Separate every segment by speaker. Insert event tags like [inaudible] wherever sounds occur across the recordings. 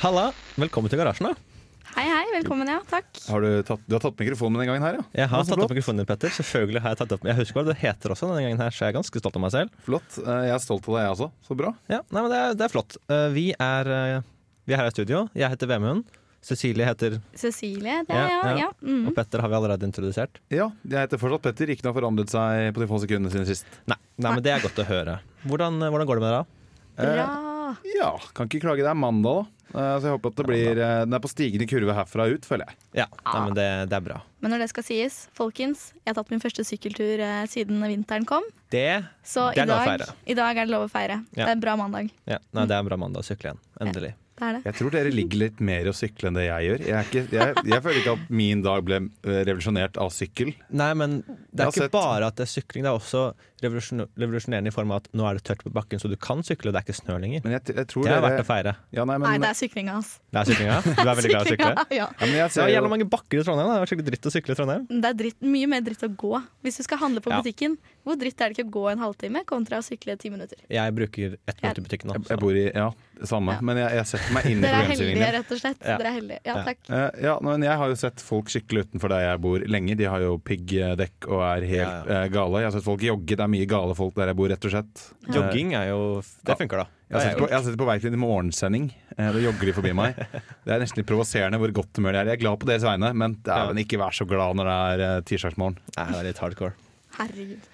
Speaker 1: Halla, velkommen til garasjen. da
Speaker 2: Hei, hei. Velkommen, ja. Takk.
Speaker 3: Har du, tatt, du har tatt mikrofonen denne gangen her, ja?
Speaker 1: Jeg har
Speaker 3: Ja, så
Speaker 1: tatt opp
Speaker 3: flott.
Speaker 1: mikrofonen din, Petter. Selvfølgelig har Jeg tatt opp Jeg husker hva det heter også denne gangen, her så jeg er ganske stolt av meg selv.
Speaker 3: Flott. Eh, Jeg er stolt av deg, jeg også. Så bra.
Speaker 1: Ja, nei, men Det er, det er flott. Eh, Vi er, eh, vi er her i studio. Jeg heter Vemund. Cecilie heter
Speaker 2: Cecilie. Det er ja,
Speaker 1: Ja, ja.
Speaker 2: ja. Mm.
Speaker 3: Mhm.
Speaker 1: Og Petter har vi allerede introdusert.
Speaker 3: Ja, jeg heter fortsatt Petter. Ikke noe har forandret seg på de få sekundene siden sist.
Speaker 1: Nei, nei, men Det er godt å høre. Hvordan, eh, hvordan går det med dere? da?
Speaker 2: Bra.
Speaker 3: Ja, kan ikke klage. Det er mandag, da. Eh, Så jeg håper at det blir eh, Den er på stigende kurve herfra ut, føler jeg.
Speaker 1: Ja, nei, men det, det er bra.
Speaker 2: Men når det skal sies, folkens, jeg har tatt min første sykkeltur eh, siden vinteren kom.
Speaker 1: Det
Speaker 2: Så
Speaker 1: Det er
Speaker 2: i,
Speaker 1: lov å
Speaker 2: dag,
Speaker 1: feire.
Speaker 2: i dag er det lov å feire.
Speaker 1: Ja.
Speaker 2: Det er en bra mandag.
Speaker 1: ja, nei, det er en bra mandag å sykle igjen. Endelig.
Speaker 2: Det er det.
Speaker 3: Jeg tror dere ligger litt mer i å sykle enn det jeg gjør. Jeg, er ikke, jeg, jeg føler ikke at min dag ble eh, revolusjonert av sykkel.
Speaker 1: Nei, men Det
Speaker 3: Jeg
Speaker 1: er
Speaker 3: har
Speaker 1: ikke
Speaker 3: sett-
Speaker 1: bare at det er sykling, det er også revolusjon- revolusjonerende i form av at nå er det tørt på bakken, så du kan sykle, og det er ikke snø lenger.
Speaker 3: Men jeg, jeg tror
Speaker 1: Det er
Speaker 3: dere
Speaker 1: verdt å feire.
Speaker 3: Ja, nei, men,
Speaker 2: Nei, det er syklinga hans.
Speaker 1: Det er syklinga? Du er veldig glad i [laughs] å sykle?
Speaker 2: [laughs] Ja.
Speaker 3: ja, men jeg
Speaker 1: Det
Speaker 3: ser
Speaker 1: er
Speaker 3: jo,
Speaker 1: jævla mange bakker i Trondheim. da. Det er skikkelig dritt å sykle i Trondheim.
Speaker 2: Det er dritt, mye mer dritt å gå. Hvis du skal handle på
Speaker 1: Ja.
Speaker 2: butikken, hvor dritt er det ikke å gå en halvtime kontra å sykle ti minutter?
Speaker 1: Jeg bruker ett minutt i butikken nå.
Speaker 3: jeg, jeg bor i Ja, samme.
Speaker 2: Ja.
Speaker 3: Men jeg, jeg setter meg inn i
Speaker 2: Dere er
Speaker 3: problemstillingen.
Speaker 2: heldige, rett og slett.
Speaker 1: Ja.
Speaker 2: Dere er heldige. Ja,
Speaker 1: Ja.
Speaker 2: takk.
Speaker 3: Eh, ja, men jeg har jo sett folk sykle utenfor der jeg bor lenge. De har jo piggdekk og er
Speaker 1: Ja,
Speaker 3: helt eh, gale. Jeg har sett folk jogge. Det er mye gale folk der jeg bor, rett og slett.
Speaker 1: så.
Speaker 3: Eh,
Speaker 1: Jogging er jo Det funker, da.
Speaker 3: Jeg har
Speaker 1: Det er
Speaker 3: sett på,
Speaker 1: jo-
Speaker 3: jeg har sett på vei til en morgensending. Eh, da jogger de forbi
Speaker 1: [laughs]
Speaker 3: meg. Det er nesten litt provoserende hvor godt humør det er. Jeg er glad på deres vegne, men dæven, ikke vær så glad når det er eh, tirsdagsmorgen.
Speaker 1: Nei, det er litt hardcore.
Speaker 2: Herregud.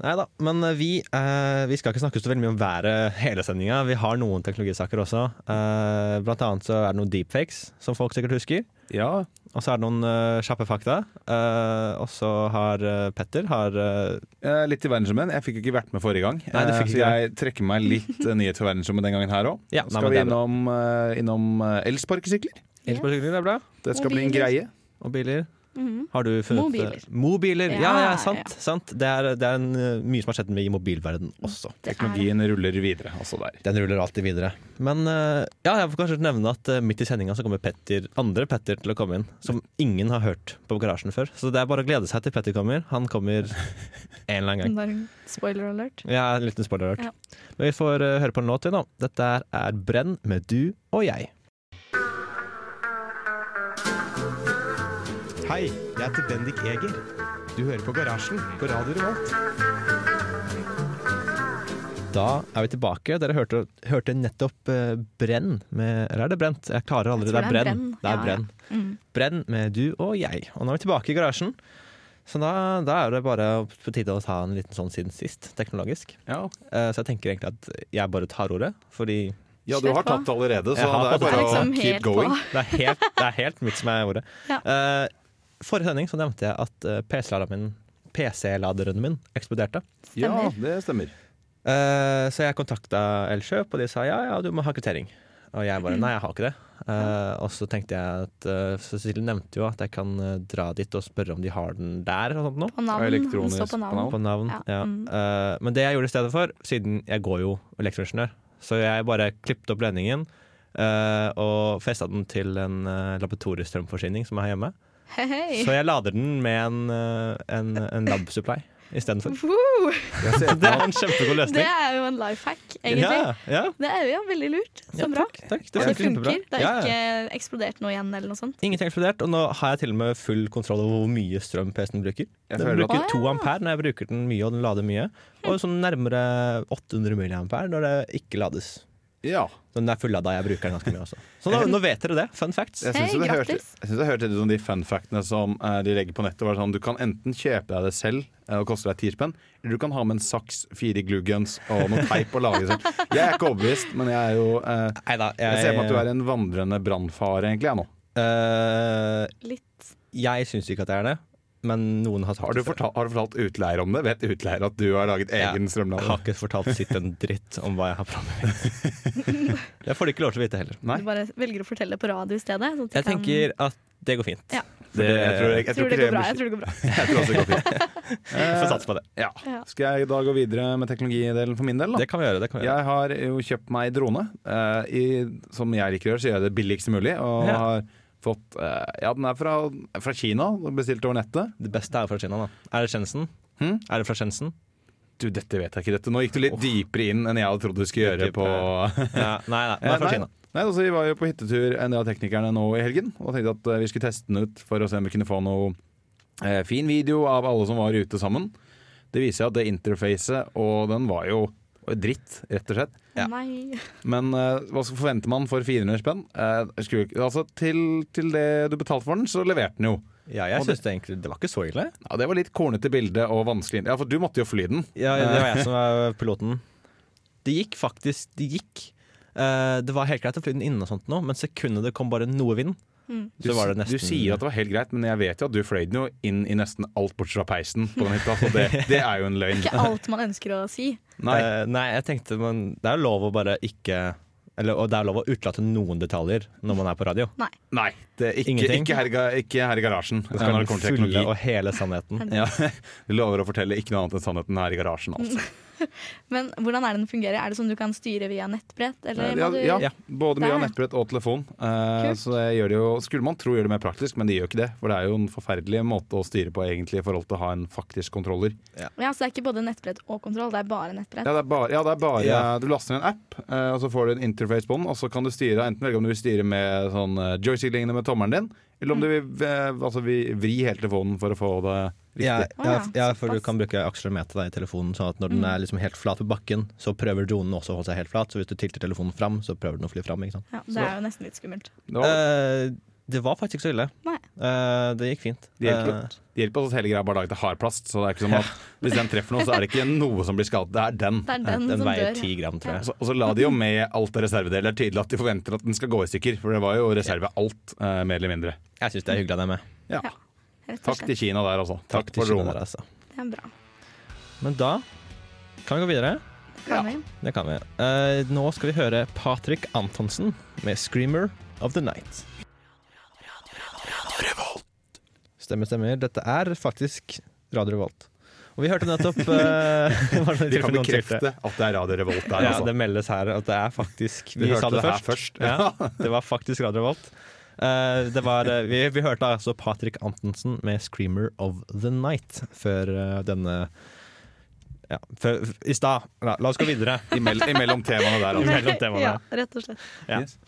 Speaker 1: Nei da, men eh, vi, eh, vi skal ikke snakke så veldig mye om været hele sendinga. Vi har noen teknologisaker også. Eh, blant annet så er det noen deepfakes, som folk sikkert husker.
Speaker 3: Ja,
Speaker 1: Og så er det noen eh, kjappe fakta. Eh, og så har eh, Petter har eh,
Speaker 3: eh, litt til verdensrommet. Jeg fikk jo ikke vært med forrige gang,
Speaker 1: Nei, du
Speaker 3: eh,
Speaker 1: fikk
Speaker 3: så jeg trekker meg litt eh, nyhet fra verdensrommet den gangen her òg.
Speaker 1: Ja, nei,
Speaker 3: Skal
Speaker 1: men
Speaker 3: vi
Speaker 1: det er bra.
Speaker 3: innom, eh, innom eh, elsparkesykler?
Speaker 1: Elsparkesykler, det er bra.
Speaker 3: Det skal bli en
Speaker 2: Mobiler.
Speaker 3: greie.
Speaker 1: Og biler.
Speaker 2: Mhm.
Speaker 1: Har du funnet eh,
Speaker 2: Mobiler.
Speaker 1: Mobiler, ja,
Speaker 2: Ja,
Speaker 1: ja, sant.
Speaker 2: ja.
Speaker 1: sant. Det er, det er en, eh, mye som har skjedd med i mobilverden også.
Speaker 2: Det er det.
Speaker 3: Teknologien ruller videre, altså der.
Speaker 1: Den ruller alltid videre. Men eh, ja, jeg får kanskje nevne at eh, midt i sendinga så kommer Petter, andre Petter til å komme inn. Som ingen har hørt på garasjen før. Så det er bare å glede seg til Petter kommer. Han kommer en eller annen gang.
Speaker 2: Bare- Spoiler alert.
Speaker 1: Ja, en liten spoiler alert.
Speaker 2: Ja.
Speaker 1: Men vi får eh, høre på en låt til, da. Dette er, er Brenn med du og jeg. Hei, jeg heter Bendik Eger. Du hører på Garasjen på Radio Revolt. Da er vi tilbake. Dere hørte, hørte nettopp eh, Brenn med Eller er det Brent? Jeg klarer aldri.
Speaker 2: Jeg
Speaker 1: Det
Speaker 2: tror
Speaker 1: er
Speaker 2: det er
Speaker 1: Brenn.
Speaker 2: Brenn.
Speaker 1: Det er
Speaker 2: Ja, ja.
Speaker 1: Brenn.
Speaker 2: Mm.
Speaker 1: Brenn med du og jeg. Og nå er vi tilbake i garasjen. Så da, da er det bare på tide å ta en liten sånn siden sist, teknologisk.
Speaker 3: Ja,
Speaker 1: Eh, Så jeg tenker egentlig at jeg bare tar ordet, fordi
Speaker 3: Ja, du
Speaker 2: Kjør
Speaker 3: har
Speaker 2: på.
Speaker 3: tatt det allerede, så
Speaker 1: Jeg har
Speaker 3: det er
Speaker 1: tatt det.
Speaker 3: bare
Speaker 2: Jeg er liksom
Speaker 3: å keep
Speaker 2: helt
Speaker 3: going.
Speaker 2: på.
Speaker 1: det er helt, det er helt mitt som er ordet.
Speaker 2: Ja.
Speaker 1: Eh, Forrige sending så nevnte jeg at eh, PC-laderen min, PC-laderen min eksploderte.
Speaker 3: Ja,
Speaker 2: Stemmer.
Speaker 3: det stemmer.
Speaker 1: Eh, Så jeg kontakta Elkjøp, og de sa ja, ja, du må ha kvittering. Og jeg bare nei, jeg har ikke det. Eh, og så tenkte jeg at eh, Cecilie nevnte jo at jeg kan eh, dra dit og spørre om de har den der og sånt noe.
Speaker 2: På navn.
Speaker 3: Og
Speaker 2: Han
Speaker 3: elektronisk
Speaker 2: står på navn.
Speaker 3: kanal.
Speaker 1: på navn. Ja.
Speaker 2: Ja, mm.
Speaker 1: Eh, men det jeg gjorde i stedet for, siden jeg går jo elektroingeniør, så jeg bare klippet opp ledningen eh, og festa den til en eh, laboratoriestrømforsyning som jeg har hjemme.
Speaker 2: Hei, hei.
Speaker 1: Så jeg lader den med en, eh, en, en lab-supply
Speaker 2: [laughs]
Speaker 1: istedenfor.
Speaker 2: Woo!
Speaker 3: Jeg ser
Speaker 1: Det er en kjempegod
Speaker 2: Det
Speaker 1: løsning.
Speaker 2: er jo en life hack, egentlig.
Speaker 1: Ja, ja.
Speaker 2: Det er jo ja, veldig lurt. Så
Speaker 1: Ja,
Speaker 2: bra.
Speaker 1: takk, takk.
Speaker 2: Og det
Speaker 1: funker kjempebra.
Speaker 2: funker. Det
Speaker 1: Ja, ja.
Speaker 2: har ikke eksplodert noe igjen eller noe sånt.
Speaker 1: Ingenting eksplodert, og nå har jeg til og med full kontroll over hvor mye strøm PC-en bruker.
Speaker 3: Jeg
Speaker 1: Den
Speaker 3: føler at-
Speaker 1: bruker
Speaker 2: Å,
Speaker 1: 2
Speaker 2: ja.
Speaker 1: ampere når jeg bruker den mye, og den lader mye. Og sånn nærmere 800 milliampere når det ikke lades.
Speaker 3: Ja,
Speaker 1: Så den er fullada. Jeg bruker den ganske mye også. Så nå, nå vet dere det. Fun facts.
Speaker 3: jeg syns
Speaker 2: Hei,
Speaker 3: jo det hørte-
Speaker 2: grattis.
Speaker 3: jeg syns det hørtes ut som de fun factene som eh, de legger på nettet. Var sånn, du kan enten kjøpe deg det selv eh, og koste deg ti spenn, eller du kan ha med en saks, fire glue guns og noe teip og lage det
Speaker 2: [laughs]
Speaker 3: selv. Jeg er ikke overbevist, men jeg er jo eh,
Speaker 1: Neida,
Speaker 3: Jeg ser på at du er en vandrende brannfare, egentlig, jeg nå.
Speaker 1: Øh,
Speaker 2: Litt.
Speaker 1: jeg syns ikke at jeg er det, men noen har sagt
Speaker 3: Har du
Speaker 1: det før.
Speaker 3: fortalt, har du fortalt utleier om det? Vet utleier at du har laget
Speaker 1: Ja.
Speaker 3: egen
Speaker 1: Jeg
Speaker 3: strømlader?
Speaker 1: har ikke fortalt sitt en dritt om hva jeg har planlagt.
Speaker 3: [laughs]
Speaker 1: Det får de ikke lov til å vite heller.
Speaker 3: Nei.
Speaker 2: Du bare velger å fortelle på radio i stedet. Sånn at de
Speaker 1: Jeg
Speaker 2: kan-
Speaker 1: tenker at det går fint.
Speaker 2: Ja.
Speaker 3: For det- Jeg tror, jeg, jeg
Speaker 2: tror
Speaker 3: tror
Speaker 2: det
Speaker 3: ikke
Speaker 2: går bra. Jeg
Speaker 3: blir-
Speaker 2: tror det går bra.
Speaker 3: Jeg tror også det går fint. [laughs] Eh,
Speaker 1: Vi får satse på det.
Speaker 3: Ja.
Speaker 2: Ja.
Speaker 3: Skal jeg da gå videre med teknologidelen for min del? da?
Speaker 1: Det kan vi gjøre. Det kan vi gjøre.
Speaker 3: Jeg har jo kjøpt meg drone. eh, i, som jeg liker å gjøre, så gjør jeg det billigst mulig. Og
Speaker 1: Ja.
Speaker 3: har fått eh, Ja, den er fra, fra Kina, bestilt over nettet.
Speaker 1: Det beste er jo fra Kina, da. Er det Shenzhen?
Speaker 3: Hm?
Speaker 1: Er det fra Shenzhen?
Speaker 3: Du, dette vet jeg ikke. Dette. Nå gikk du litt dypere inn enn jeg hadde trodd du skulle gjøre
Speaker 1: Litt
Speaker 3: på
Speaker 1: dypere. Ja, nei, nei. Det
Speaker 3: Eh,
Speaker 1: er fra
Speaker 3: nei,
Speaker 1: Kina.
Speaker 3: Nei, altså, Vi var jo på hyttetur en del av teknikerne nå i helgen og tenkte at eh, vi skulle teste den ut for å se om vi kunne få noe eh, fin video av alle som var ute sammen. Det viser seg at det interfacet og den var jo dritt, rett og slett.
Speaker 1: Ja.
Speaker 2: Nei.
Speaker 3: Men eh, hva så forventer man for 400 spenn? Eh, skulle, ikke- altså, til, til det du betalte for den, så leverte den jo.
Speaker 1: Ja, jeg
Speaker 3: Og det-
Speaker 1: synes det egentlig Det var ikke så ille.
Speaker 3: Ja, det var litt kornete bilde og vanskelig. Ja, for du måtte jo fly den.
Speaker 1: Ja, det var jeg som var piloten. Det gikk faktisk. Det gikk. Eh, det var helt greit å fly den inne, og sånt nå, men sekundet det kom bare noe vind,
Speaker 2: Mm.
Speaker 1: så var det nesten
Speaker 3: du sier at det var helt greit, men jeg vet jo at du fløy den jo inn i nesten alt bortsett fra peisen på den hytta, så det, det er jo en løgn.
Speaker 2: Ikke alt man ønsker å si.
Speaker 3: Nei.
Speaker 1: Eh, nei, jeg tenkte men det er lov å bare ikke eller, Og det er lov å utelate noen detaljer når man er på radio.
Speaker 3: Nei, det er ikke,
Speaker 1: Ingenting?
Speaker 3: ikke, her, i ga- ikke her i garasjen.
Speaker 1: Det skal
Speaker 3: Når det
Speaker 1: den
Speaker 3: kommer til
Speaker 1: fulle
Speaker 3: teknologi.
Speaker 1: og hele sannheten.
Speaker 3: Ja, Vi lover å fortelle ikke noe annet enn sannheten her i garasjen. Altså.
Speaker 2: Men hvordan er det den fungerer? Er det sånn du kan styre via nettbrett? Eller
Speaker 3: Ja,
Speaker 2: Mm, må du...
Speaker 3: ja, både mye av
Speaker 2: Der.
Speaker 3: nettbrett og telefon. Eh,
Speaker 2: Kult.
Speaker 3: så det gjør det jo, skulle man tro gjør det mer praktisk, men det gjør ikke det. For det er jo en forferdelig måte å styre på egentlig i forhold til å ha en faktisk kontroller.
Speaker 2: Ja, så det er ikke både nettbrett og kontroll, det er bare nettbrett.
Speaker 3: Ja, det er bare, ja, det er bare
Speaker 1: Ja.
Speaker 3: Du laster ned en app, eh, og så får du en interface på den, og så kan du styre enten velge om du vil styre med sånn eh, joystick-lignende med tommelen din, eller
Speaker 2: Mm.
Speaker 3: om du vil eh, altså, vi- vri hele telefonen for å få det riktig.
Speaker 1: Ja, ja,
Speaker 2: Å ja,
Speaker 1: ja, for du
Speaker 2: såpass. Mm.
Speaker 1: kan bruke akselerometer da i telefonen, sånn at når den er liksom helt flat på bakken, så prøver dronen også å holde seg helt flat. Så hvis du tilter telefonen fram, så prøver den å fly fram. Ikke sant?
Speaker 2: Ja, det er jo nesten litt skummelt.
Speaker 3: Det var-
Speaker 1: Eh, det var faktisk ikke så ille.
Speaker 2: Nei.
Speaker 1: Eh, det gikk fint.
Speaker 3: Det hjelper.
Speaker 1: Eh,
Speaker 3: Det hjelper oss at hele greia er bare laget av hardplast. Så det er ikke som at hvis den treffer noe, så er det ikke noe som blir skadet. Det er den.
Speaker 2: Det er den,
Speaker 1: Eh, Den,
Speaker 2: som
Speaker 1: veier
Speaker 2: dør.
Speaker 1: ti gram, tror
Speaker 3: Og
Speaker 1: jeg.
Speaker 3: så, og så la de jo med alt av reservedeler. Tydelig at de forventer at den skal gå i stykker. For det var jo reserve alt, eh, mer eller mindre.
Speaker 1: Jeg syns det er hyggelig av dem. jeg.
Speaker 3: Ja.
Speaker 2: Ja, Rett og
Speaker 3: Takk
Speaker 2: slett.
Speaker 3: til Kina der, altså.
Speaker 1: Takk til
Speaker 3: for
Speaker 1: Kina
Speaker 3: dronen.
Speaker 1: der, altså.
Speaker 2: Det er bra.
Speaker 1: Men da kan vi gå videre.
Speaker 3: Ja.
Speaker 2: Kan vi?
Speaker 1: Det kan vi. Eh, nå skal vi høre Patrick Antonsen med 'Screamer of the Night'. Stemmer, stemmer. Dette er faktisk Radio Revolt. Og vi hørte
Speaker 3: [laughs]
Speaker 1: nettopp eh, [laughs] var det
Speaker 3: De kan
Speaker 1: tilfelle noen
Speaker 3: bekrefte
Speaker 1: tvilte?
Speaker 3: at det er Radio Revolt der,
Speaker 1: Ja,
Speaker 3: altså.
Speaker 1: det meldes her at det er faktisk
Speaker 3: Vi
Speaker 1: Vi
Speaker 3: hørte
Speaker 1: sa det
Speaker 3: det her
Speaker 1: først.
Speaker 3: først.
Speaker 1: Ja, [laughs] det var faktisk Radio Revolt. Eh, det var, eh, vi, vi hørte altså Patrick Antonsen med 'Screamer of the Night' før eh, denne ja, før, I stad. La, la oss gå videre.
Speaker 3: [laughs] Imell, imellom temaene der, altså.
Speaker 1: Mellom temaene.
Speaker 2: [laughs] Ja, rett og slett.
Speaker 1: Ja.
Speaker 3: Yes.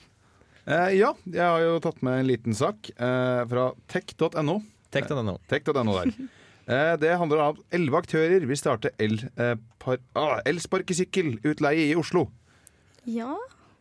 Speaker 3: Eh, ja, jeg har jo tatt med en liten sak eh, fra tech.no.
Speaker 1: Tenk deg det nå.
Speaker 3: Tech.no der. Eh, Det handler om at elleve aktører vil starte el- eh, par- ah, elsparkesykkelutleie i Oslo.
Speaker 2: Ja,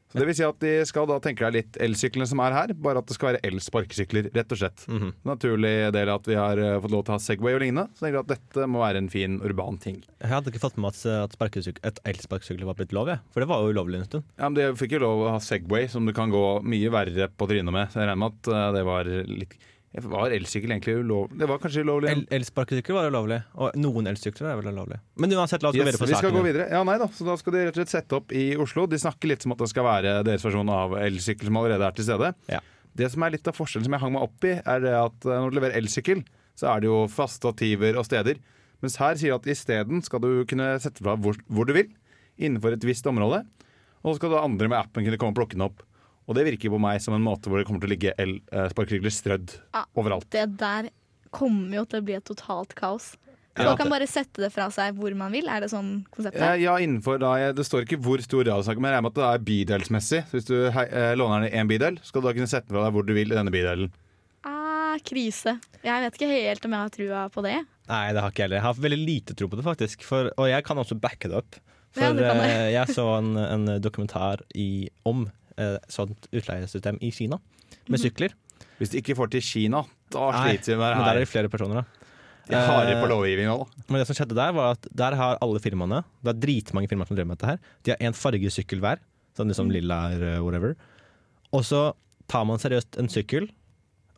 Speaker 3: Så det vil si at de skal da tenke deg litt elsyklene som er her, bare at det skal være elsparkesykler, rett og slett.
Speaker 1: Mhm.
Speaker 3: Naturlig del av at vi har eh, fått lov til å ha Segway og lignende, så tenker jeg at dette må være en fin urban ting.
Speaker 1: Jeg hadde ikke fått med meg at, at sparkesyk- at elsparkesykler var blitt lov, jeg. For det var jo ulovlig en stund.
Speaker 3: Ja, men De fikk jo lov å ha Segway, som du kan gå mye verre på trynet med. Så jeg regner med at eh, det var litt Var elsykkel egentlig ulovlig? Det var kanskje ulovlig?
Speaker 1: El elsparkesykler var ulovlig, og noen elsykler er vel ulovlig. Men uansett, la oss gå
Speaker 3: Yes,
Speaker 1: videre på
Speaker 3: vi skal
Speaker 1: saken.
Speaker 3: gå videre. Ja, nei da, så da skal de rett og slett sette opp i Oslo. De snakker litt som at det skal være deres versjon av elsykkel som allerede er til stede.
Speaker 1: Ja.
Speaker 3: Det som er litt av forskjellen som jeg hang meg opp i, er det at eh, når du leverer elsykkel, så er det jo faste stativer og steder. Mens her sier de at isteden skal du kunne sette fra hvor, hvor du vil, innenfor et visst område. Og så skal da andre med appen kunne komme og plukke den opp. Og det virker på meg som en måte hvor det kommer til å ligge el- eh, sparkesykler strødd
Speaker 2: Ja.
Speaker 3: overalt.
Speaker 2: det der kommer jo til å bli et totalt kaos.
Speaker 3: Ja,
Speaker 2: Folk kan bare sette det fra seg hvor man vil, er det sånn konseptet?
Speaker 3: Eh, Ja, innenfor da, jeg- Det står ikke hvor stor radiosnakk, men jeg regner med at det er bydelsmessig. Så Hvis du hei, eh, låner den i én bydel, skal du da kunne sette den fra deg hvor du vil i denne bydelen.
Speaker 2: Ah, krise. Jeg vet ikke helt om jeg har trua på det.
Speaker 1: Nei, det har ikke jeg heller. Jeg har veldig lite tro på det, faktisk. For, og jeg kan også backe det opp. For
Speaker 2: Ja, det kan jeg.
Speaker 1: eh, jeg så en, en dokumentar i, om eh, sånt utleiesystem i Kina,
Speaker 2: Mhm.
Speaker 1: med sykler.
Speaker 3: Hvis de ikke får til Kina, da
Speaker 1: Nei,
Speaker 3: sliter vi med det
Speaker 1: Men der er
Speaker 3: her.
Speaker 1: det flere personer, da.
Speaker 3: De er harde
Speaker 1: eh,
Speaker 3: på lovgivninga nå.
Speaker 1: Men det som skjedde der var at der har alle firmaene Det er dritmange firmaer som driver med dette her De har en fargesykkel hver Sånn
Speaker 2: Mm.
Speaker 1: liksom lilla er eh, whatever Og så tar man seriøst en sykkel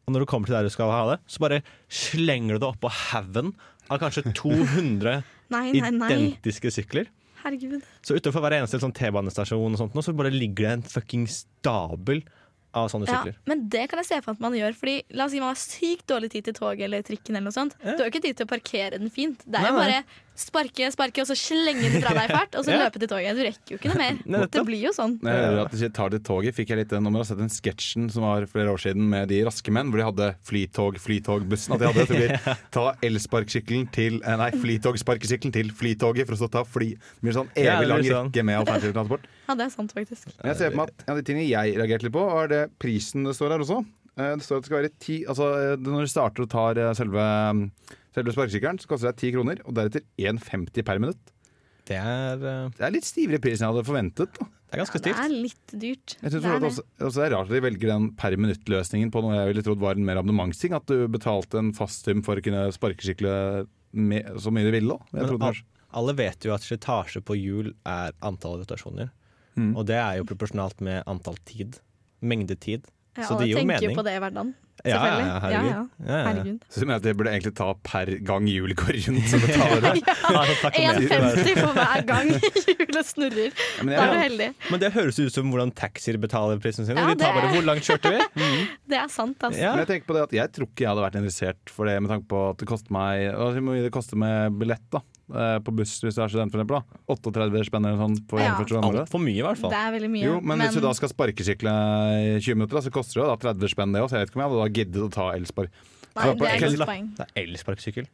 Speaker 1: Og når du kommer til der du skal ha det Så bare slenger du det opp på haven Av kanskje
Speaker 2: [laughs]
Speaker 1: 200
Speaker 2: Nei, nei, nei.
Speaker 1: identiske sykler
Speaker 2: Herregud.
Speaker 1: Så utenfor hver eneste sånn T-banestasjon og sånt nå, Så bare ligger det en fucking stabel Av sånne
Speaker 2: Ja,
Speaker 1: sykler
Speaker 2: men det kan jeg se for at man gjør. Fordi La oss si man har sykt dårlig tid til toget eller trikken. eller noe sånt Du har jo ikke tid til å parkere den fint. Det er jo
Speaker 1: Nei,
Speaker 2: bare
Speaker 1: nei.
Speaker 2: Sparke, sparke, og så slenge den fra deg i fart, og så
Speaker 1: [laughs] Ja.
Speaker 2: løpe til toget. Du rekker jo ikke noe
Speaker 1: [laughs]
Speaker 2: mer.
Speaker 1: Nettopp.
Speaker 2: Det blir jo sånn.
Speaker 3: Når jeg hører at de sier 'tar det toget', fikk jeg litt Nå må dere ha sett den sketsjen som var flere år siden med de raske menn, hvor de hadde flytog, flytogbussen. At de
Speaker 1: [laughs]
Speaker 3: hadde det til å bli ta elsparkesykkelen til eh, Nei, flytogsparkesykkelen til flytoget, for å så ta fly. Det blir en sånn
Speaker 1: Ja,
Speaker 3: evig
Speaker 1: det
Speaker 3: lang
Speaker 1: blir sånn.
Speaker 3: rekke med alternativ transport.
Speaker 2: Ja, det er sant, faktisk.
Speaker 3: Men jeg ser for meg at en av de tingene jeg reagerte litt på, var det prisen det står her også. Eh, Det står at det skal være ti Altså eh, når du starter og tar eh, selve, selve sparkesykkelen, så koster det ti kroner, og deretter 1,50 per minutt.
Speaker 1: Det er, eh,
Speaker 3: Det er litt stivere pris enn jeg hadde forventet. Da.
Speaker 1: det er
Speaker 2: Ja,
Speaker 1: ganske
Speaker 2: det
Speaker 1: stivt.
Speaker 2: er litt dyrt.
Speaker 3: Jeg synes
Speaker 2: Det er
Speaker 3: det,
Speaker 2: det.
Speaker 3: også, også det er rart at de velger den per minutt-løsningen på noe jeg ville trodd var en mer abonnementsting. At du betalte en fast sum for å kunne sparkesykle med, så mye du ville. da. Jeg
Speaker 1: Men
Speaker 3: trodde
Speaker 1: al-
Speaker 3: kanskje-
Speaker 1: alle vet jo at slitasje på hjul er antall rotasjoner.
Speaker 3: Mm.
Speaker 1: Og det er jo proporsjonalt med antall tid. Mengdetid.
Speaker 2: Ja,
Speaker 1: så det gir jo
Speaker 2: Alle tenker
Speaker 1: mening.
Speaker 2: jo på det i hverdagen.
Speaker 1: Ja, ja, ja,
Speaker 2: Selvfølgelig. Ja,
Speaker 1: herregud. Ja, ja. [laughs]
Speaker 2: Herregud.
Speaker 3: Så jeg mener at jeg burde egentlig ta per gang hjulet går rundt. Så
Speaker 2: [laughs]
Speaker 3: betaler du.
Speaker 1: Altså, takk for meg.
Speaker 2: 1,50 for hver gang hjulet snurrer.
Speaker 3: Ja, men
Speaker 2: Da er du
Speaker 3: jeg,
Speaker 2: heldig.
Speaker 1: Men det høres ut som hvordan taxier betaler prisen sin.
Speaker 2: Ja,
Speaker 1: de tar
Speaker 2: det-
Speaker 1: bare hvor langt kjørte
Speaker 2: [laughs]
Speaker 1: vi?
Speaker 2: Det er sant, altså.
Speaker 1: Ja.
Speaker 3: men jeg tenker på det at jeg tror ikke jeg hadde vært interessert for det med tanke på at det koster meg og Hvor mye det koster med billett da eh, på buss hvis du er student, for eksempel. Da. 38 spenn eller noe sånt på
Speaker 2: Ja.
Speaker 3: gjennomført studentmålet.
Speaker 1: Altfor mye, i hvert fall.
Speaker 2: Det er veldig mye.
Speaker 3: Jo, men, hvis du da skal sparkesykle i 20 minutter, da, så koster det jo da 30 spenn det òg. Så jeg vet ikke om jeg hadde da giddet å ta elspark.
Speaker 2: Nei, det er
Speaker 3: Kan jeg
Speaker 2: et
Speaker 3: si-
Speaker 2: godt poeng.
Speaker 1: Det er elsparkesykkel.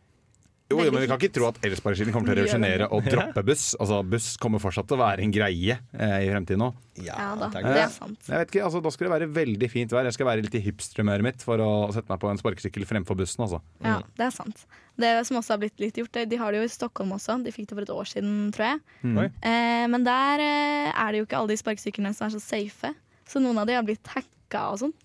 Speaker 3: Jo, jo,
Speaker 2: Veldig
Speaker 3: men Vi kan ikke tro at elsparkesykkelen kommer til å revolusjonere og droppe buss. Altså, Buss kommer fortsatt til å være en greie eh, i fremtiden òg.
Speaker 2: Ja da,
Speaker 1: takk.
Speaker 2: det er sant.
Speaker 3: Jeg vet ikke, altså, Da skal det være veldig fint vær. Jeg skal være litt i hipsterhumøret mitt for å sette meg på en sparkesykkel fremfor bussen. altså.
Speaker 2: Ja, det er sant. Det som også har blitt litt gjort, de har det jo i Stockholm også. De fikk det for et år siden, tror jeg.
Speaker 3: Mm.
Speaker 1: Oi.
Speaker 2: Eh, men der eh, er det jo ikke alle de sparkesyklene som er så safe. Så noen av de har blitt hacka og sånn.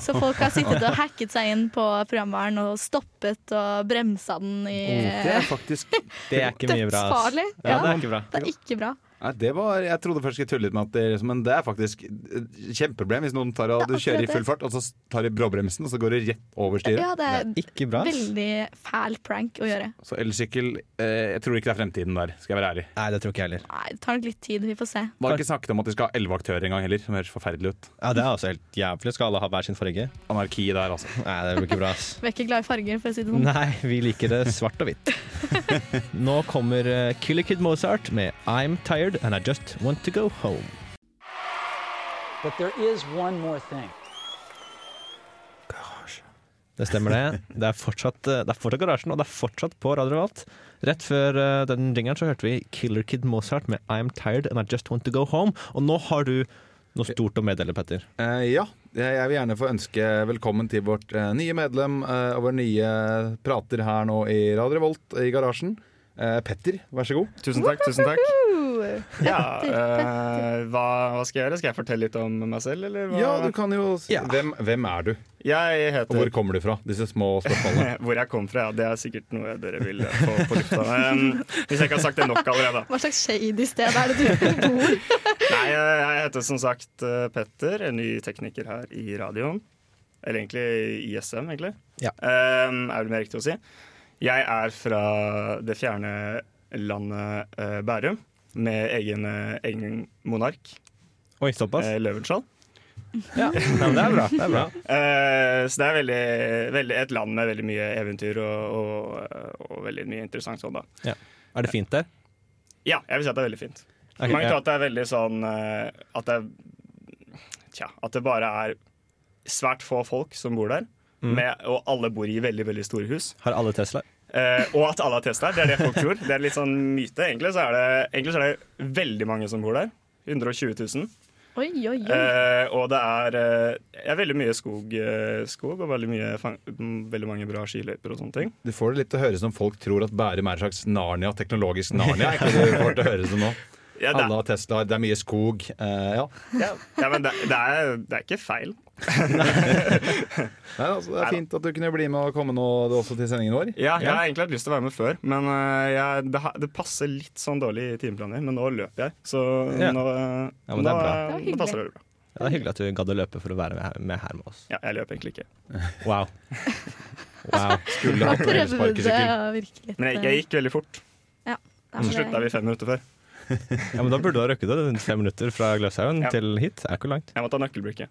Speaker 2: Så folk har sittet og hacket seg inn på programvaren og stoppet og bremsa den i
Speaker 3: Oh, Det er faktisk
Speaker 1: Det
Speaker 3: [laughs]
Speaker 1: er ikke mye bra. ass.
Speaker 2: Dødsfarlig,
Speaker 1: Ja,
Speaker 2: ja.
Speaker 1: det er ikke bra.
Speaker 2: Det er ikke bra.
Speaker 3: Nei, det var, Jeg trodde først jeg skulle tulle litt med at det liksom, Men det er faktisk et kjempeproblem hvis noen tar
Speaker 2: Det
Speaker 3: og
Speaker 2: er
Speaker 3: du kjører i
Speaker 2: akkurat
Speaker 3: full fart, og så tar de bråbremsen, og så går det rett over styret.
Speaker 2: Ja, det er
Speaker 1: Ikke bra. ass.
Speaker 2: veldig fæl prank å gjøre.
Speaker 3: Så elsykkel eh, Jeg tror ikke det er fremtiden der, skal jeg være ærlig.
Speaker 1: Nei, det tror ikke jeg heller.
Speaker 2: Nei, det tar nok litt tid, vi får se.
Speaker 3: Var det ikke snakket om at de skal ha elleve aktører engang heller, som høres forferdelig ut.
Speaker 1: Ja, det er også helt jævlig. Skal alle ha hver sin farge?
Speaker 3: Anarki der, altså.
Speaker 1: Nei, det blir ikke bra. ass.
Speaker 2: Vi er ikke glad i farger, for å si det sånn.
Speaker 1: Nei, vi liker det svart og
Speaker 4: [laughs]
Speaker 1: hvitt. Nå kommer eh, Killer Kid Mozart med I'm Tired And I Just Want To Go Home.
Speaker 5: But there is one more thing.
Speaker 1: Det stemmer det. Det er fortsatt, eh, det er fortsatt garasjen, og det er fortsatt på Radio Revolt. Rett før eh, den ringeren så hørte vi Killer Kid Mozart med I'm Tired And I Just Want To Go Home. Og nå har du noe stort å meddele, Petter.
Speaker 3: [laughs] Eh, ja, jeg jeg vil gjerne få ønske velkommen til vårt eh, nye medlem eh, og vår nye prater her nå i Radio Revolt i garasjen. Eh, Petter, vær så god.
Speaker 4: Tusen takk. tusen takk
Speaker 2: Uh,
Speaker 4: ja, eh, hva, hva skal jeg gjøre? Skal jeg fortelle litt om meg selv? Eller hva?
Speaker 3: Ja, du kan jo si
Speaker 1: Ja.
Speaker 3: hvem, hvem er du,
Speaker 4: Jeg
Speaker 3: og
Speaker 4: heter
Speaker 3: hvor kommer du fra? Disse små spørsmålene.
Speaker 4: Hvor jeg kom fra, ja, det er sikkert noe dere vil eh, få på lufta. Um, hvis jeg ikke har sagt det nok allerede.
Speaker 2: hva slags shady sted er det du bor?
Speaker 4: Nei, eh, jeg heter som sagt eh, Petter, en ny tekniker her i radioen. Eller egentlig ISM, egentlig.
Speaker 1: Ja.
Speaker 4: Um, er det mer riktig å si. Jeg er fra det fjerne landet eh, Bærum, med egen, eh, egen monark,
Speaker 1: Oi, såpass?
Speaker 4: eh, Løvenskiold.
Speaker 1: Ja, Nei, men det er bra. Det er bra.
Speaker 4: Eh, så det er veldig, veldig, et land med veldig mye eventyr og, og, og veldig mye interessant sånn, da.
Speaker 1: Er det fint der?
Speaker 4: Ja, jeg vil si at det er veldig fint.
Speaker 1: Ok,
Speaker 4: Mange
Speaker 1: ja.
Speaker 4: tror at det er veldig sånn eh, at det, er- tja, at det bare er svært få folk som bor der.
Speaker 1: Mm.
Speaker 4: Med, og alle bor i veldig veldig store hus.
Speaker 1: Har alle Tesla?
Speaker 4: Eh, og at alle har Tesla. Det er det folk tror. Det er litt sånn myte. Egentlig så er det, egentlig så er det veldig mange som bor der. 120 000.
Speaker 2: Oi, oi, oi.
Speaker 4: Eh, og det er, eh, det er veldig mye skog, eh, skog og veldig, mye, fang- mm, veldig mange bra skiløyper og sånne ting.
Speaker 3: [laughs] Du får det litt til å høres som folk tror at Bærum er en slags Narnia, teknologisk Narnia. er ikke det du får til å høres som nå.
Speaker 4: Ja, det,
Speaker 3: Alle
Speaker 4: er-
Speaker 3: har Teslaer, det er mye skog. Eh, ja.
Speaker 4: ja, ja, men det, det, er, det er ikke feil.
Speaker 3: Nei, altså, det er fint at du kunne bli med og komme nå også til sendingen vår.
Speaker 4: Ja, jeg har egentlig hatt lyst til å være med før, men eh, jeg, det, ha- det passer litt sånn dårlig i timeplaner. Men nå løper jeg, så
Speaker 1: Ja.
Speaker 4: nå, eh,
Speaker 1: Ja,
Speaker 4: nå,
Speaker 1: men det er bra.
Speaker 4: eh,
Speaker 2: Det var
Speaker 4: nå passer det bra.
Speaker 1: Ja, det er hyggelig at du gadd å løpe for å være med her med, her med oss.
Speaker 4: Ja, jeg løper egentlig ikke.
Speaker 1: Wow.
Speaker 4: [laughs]
Speaker 1: wow.
Speaker 3: Skulle
Speaker 2: Da
Speaker 3: hatt
Speaker 2: prøvde
Speaker 3: en
Speaker 2: du det
Speaker 3: elsparkesykkel.
Speaker 2: å virke litt
Speaker 4: Men jeg, jeg gikk veldig fort.
Speaker 2: Ja, men
Speaker 4: Så slutta vi
Speaker 2: det-
Speaker 4: fem minutter før.
Speaker 1: Ja, men da burde du ha røkket det. rundt Fem minutter fra Gløshaugen
Speaker 4: Ja.
Speaker 1: til hit. Det er ikke langt.
Speaker 4: Jeg måtte ha nøkkelblikket.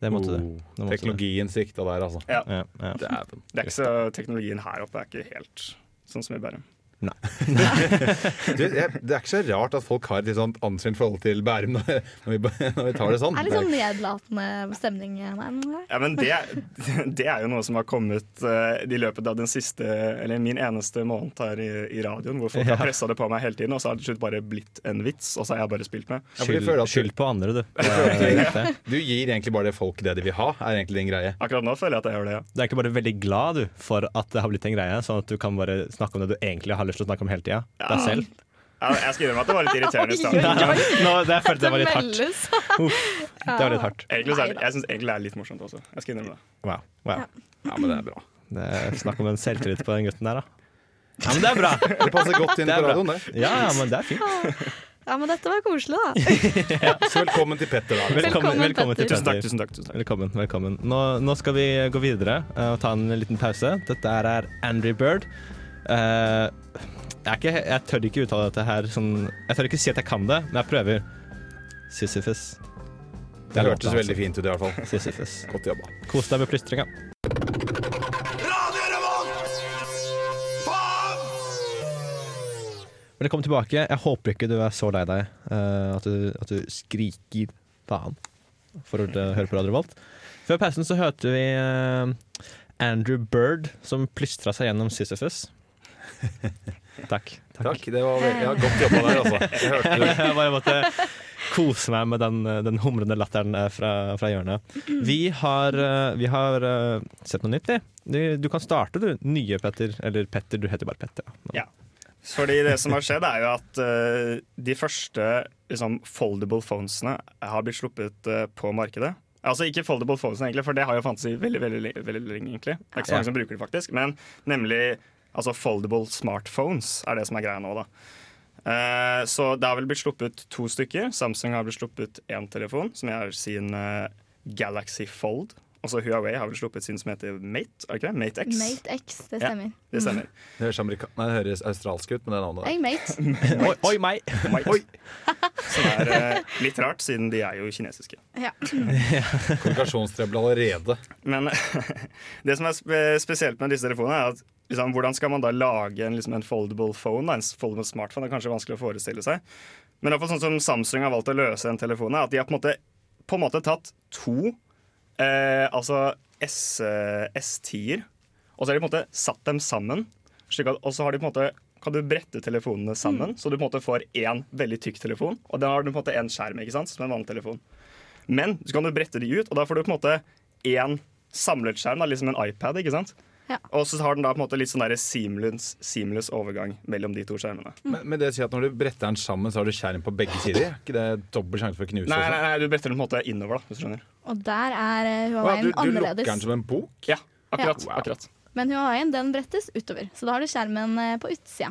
Speaker 1: Det måtte du.
Speaker 3: Oh,
Speaker 1: Det måtte
Speaker 3: Teknologien svikta der, altså.
Speaker 4: Ja.
Speaker 1: Ja, ja.
Speaker 3: Dæven.
Speaker 4: Det er ikke så, teknologien her oppe er ikke helt sånn som i Bærum.
Speaker 3: Du, jeg, det er ikke så rart at folk har et litt sånt anstrengt forhold til Bærum når, når, vi, når vi tar det sånn.
Speaker 2: Det er litt sånn nedlatende stemning. eh, men det er-
Speaker 4: Ja, men det, det er [laughs] jo noe som har kommet eh, i løpet av den siste, eller min eneste måned her i, i radioen, hvor folk har pressa det på meg hele tiden, og så har det til slutt bare blitt en vits, og så har jeg bare spilt med.
Speaker 3: Ja, for de
Speaker 1: Skyld,
Speaker 3: føler at du-
Speaker 1: skyld på andre, du. Eh, Det er,
Speaker 3: Du gir egentlig bare folk det de vil ha, er egentlig din greie.
Speaker 4: Akkurat nå føler jeg at jeg gjør det. ja.
Speaker 1: du er ikke bare veldig glad du, for at det har blitt en greie, sånn at du kan bare snakke om det du egentlig har lyst til å snakke om hele tida. Deg selv.
Speaker 4: Jeg, jeg skal innrømme at det var litt irriterende i
Speaker 1: [laughs]
Speaker 3: [laughs]
Speaker 1: Ja,
Speaker 4: starten.
Speaker 1: [laughs] nå, det jeg følte jeg var litt hardt.
Speaker 2: meldes. [laughs]
Speaker 1: Uff, det var litt hardt.
Speaker 4: Egentlig, så er det, jeg syns egentlig det er litt morsomt også. Jeg skal innrømme det.
Speaker 1: Wow. wow.
Speaker 3: Ja, men det er bra.
Speaker 1: Det er snakk om en selvtillit på den gutten der, da. Ja, men det er bra.
Speaker 3: Det passer godt inn
Speaker 1: Det er
Speaker 3: på
Speaker 1: bra.
Speaker 3: radioen, det.
Speaker 1: Ja, ja, men det er fint.
Speaker 2: Ja, men dette var koselig, da.
Speaker 3: Så velkommen til Petter, da.
Speaker 1: Velkommen,
Speaker 2: Velkommen,
Speaker 1: velkommen til
Speaker 2: Petter.
Speaker 4: Tusen takk,
Speaker 1: Petter.
Speaker 4: tusen takk. tusen takk.
Speaker 1: Velkommen. velkommen. Nå, nå skal vi gå videre eh, og ta en liten pause. Dette her er Andrew Bird. Eh, jeg, er ikke, jeg tør ikke uttale dette her sånn Jeg tør ikke si at jeg kan det, men jeg prøver. Sisyfus.
Speaker 3: Det hørtes veldig fint ut, i hvert fall.
Speaker 1: Sisyfus.
Speaker 3: Godt jobba.
Speaker 1: Kos deg med plystringa. Velkommen tilbake. Jeg håper ikke du er så lei deg eh, at, du, at du skriker faen for å eh, høre på Radio Revolt. Før pausen så hørte vi eh, Andrew Bird som plystra seg gjennom Sisyphus. Takk.
Speaker 3: Takk. Det var veldig, ja, godt jobba der, altså. Jeg hørte det.
Speaker 1: [laughs] Jeg bare måtte kose meg med den, den humrende latteren eh, fra, fra hjørnet. Vi har, eh, vi har eh, sett noe nytt, vi. Du, du kan starte, du. Nye Petter. Eller Petter, du heter bare Petter. da. Men-
Speaker 4: Ja. Fordi det som har skjedd, er jo at eh, de første liksom, foldable phonesene har blitt sluppet eh, på markedet. Altså ikke foldable phones, egentlig, for det har jo fantes i veldig veldig, le- veldig lenge. egentlig. Det er ikke så
Speaker 1: Ja.
Speaker 4: mange som bruker det, faktisk. Men nemlig altså foldable smartphones er det som er greia nå, da. Eh, så det har vel blitt sluppet to stykker. Samsung har blitt sluppet én telefon, som er sin eh, Galaxy Fold. Også Huawei har vel sluppet sin som heter Mate. er det ikke det? Mate X.
Speaker 2: Mate X, det
Speaker 4: Ja.
Speaker 2: stemmer.
Speaker 4: Det stemmer.
Speaker 3: Det høres, amerika- nei, det høres australsk ut, men det er navnet der.
Speaker 2: Hey, mate.
Speaker 1: Oi, oi meg!
Speaker 4: Mate. Som er eh, litt rart, siden de er jo kinesiske.
Speaker 2: Ja.
Speaker 3: Kommunikasjonstrøbbel allerede.
Speaker 4: Men [laughs] det som er spe spesielt med disse telefonene, er at liksom, hvordan skal man da lage en, liksom, en foldable phone? Da? En foldable smartphone det er kanskje vanskelig å forestille seg. Men i hvert fall sånn som Samsung har valgt å løse den telefonen, er at de har på en måte, på en måte tatt to eh, altså S- eh, S10-er, og så har de på en måte satt dem sammen. Slik at, og så har de på en måte kan du brette telefonene sammen, så du på en måte får én veldig tykk telefon. Og da har du på en måte én skjerm, ikke sant, som en vanlig telefon. Men så kan du brette de ut, og da får du på en måte én samlet skjerm, da, liksom en iPad. ikke sant?
Speaker 2: Ja.
Speaker 4: Og så har den da på en måte litt sånn der seamless, seamless overgang mellom de to skjermene.
Speaker 3: Men, men det sier at når du bretter den sammen, så har du skjerm på begge sider? Er Ikke det dobbel sjanse for å knuse?
Speaker 4: Nei,
Speaker 3: og
Speaker 4: nei,
Speaker 3: sånn?
Speaker 4: nei, du bretter den på en måte innover, da. hvis du skjønner.
Speaker 2: Og der er eh,
Speaker 3: Å, ja,
Speaker 2: Huaweien
Speaker 3: du, du lukker den
Speaker 2: annerledes.
Speaker 3: som en bok?
Speaker 4: Ja, akkurat.
Speaker 2: Ja.
Speaker 4: akkurat.
Speaker 2: Men Huaweien den brettes utover, så da har du skjermen eh, på utsida.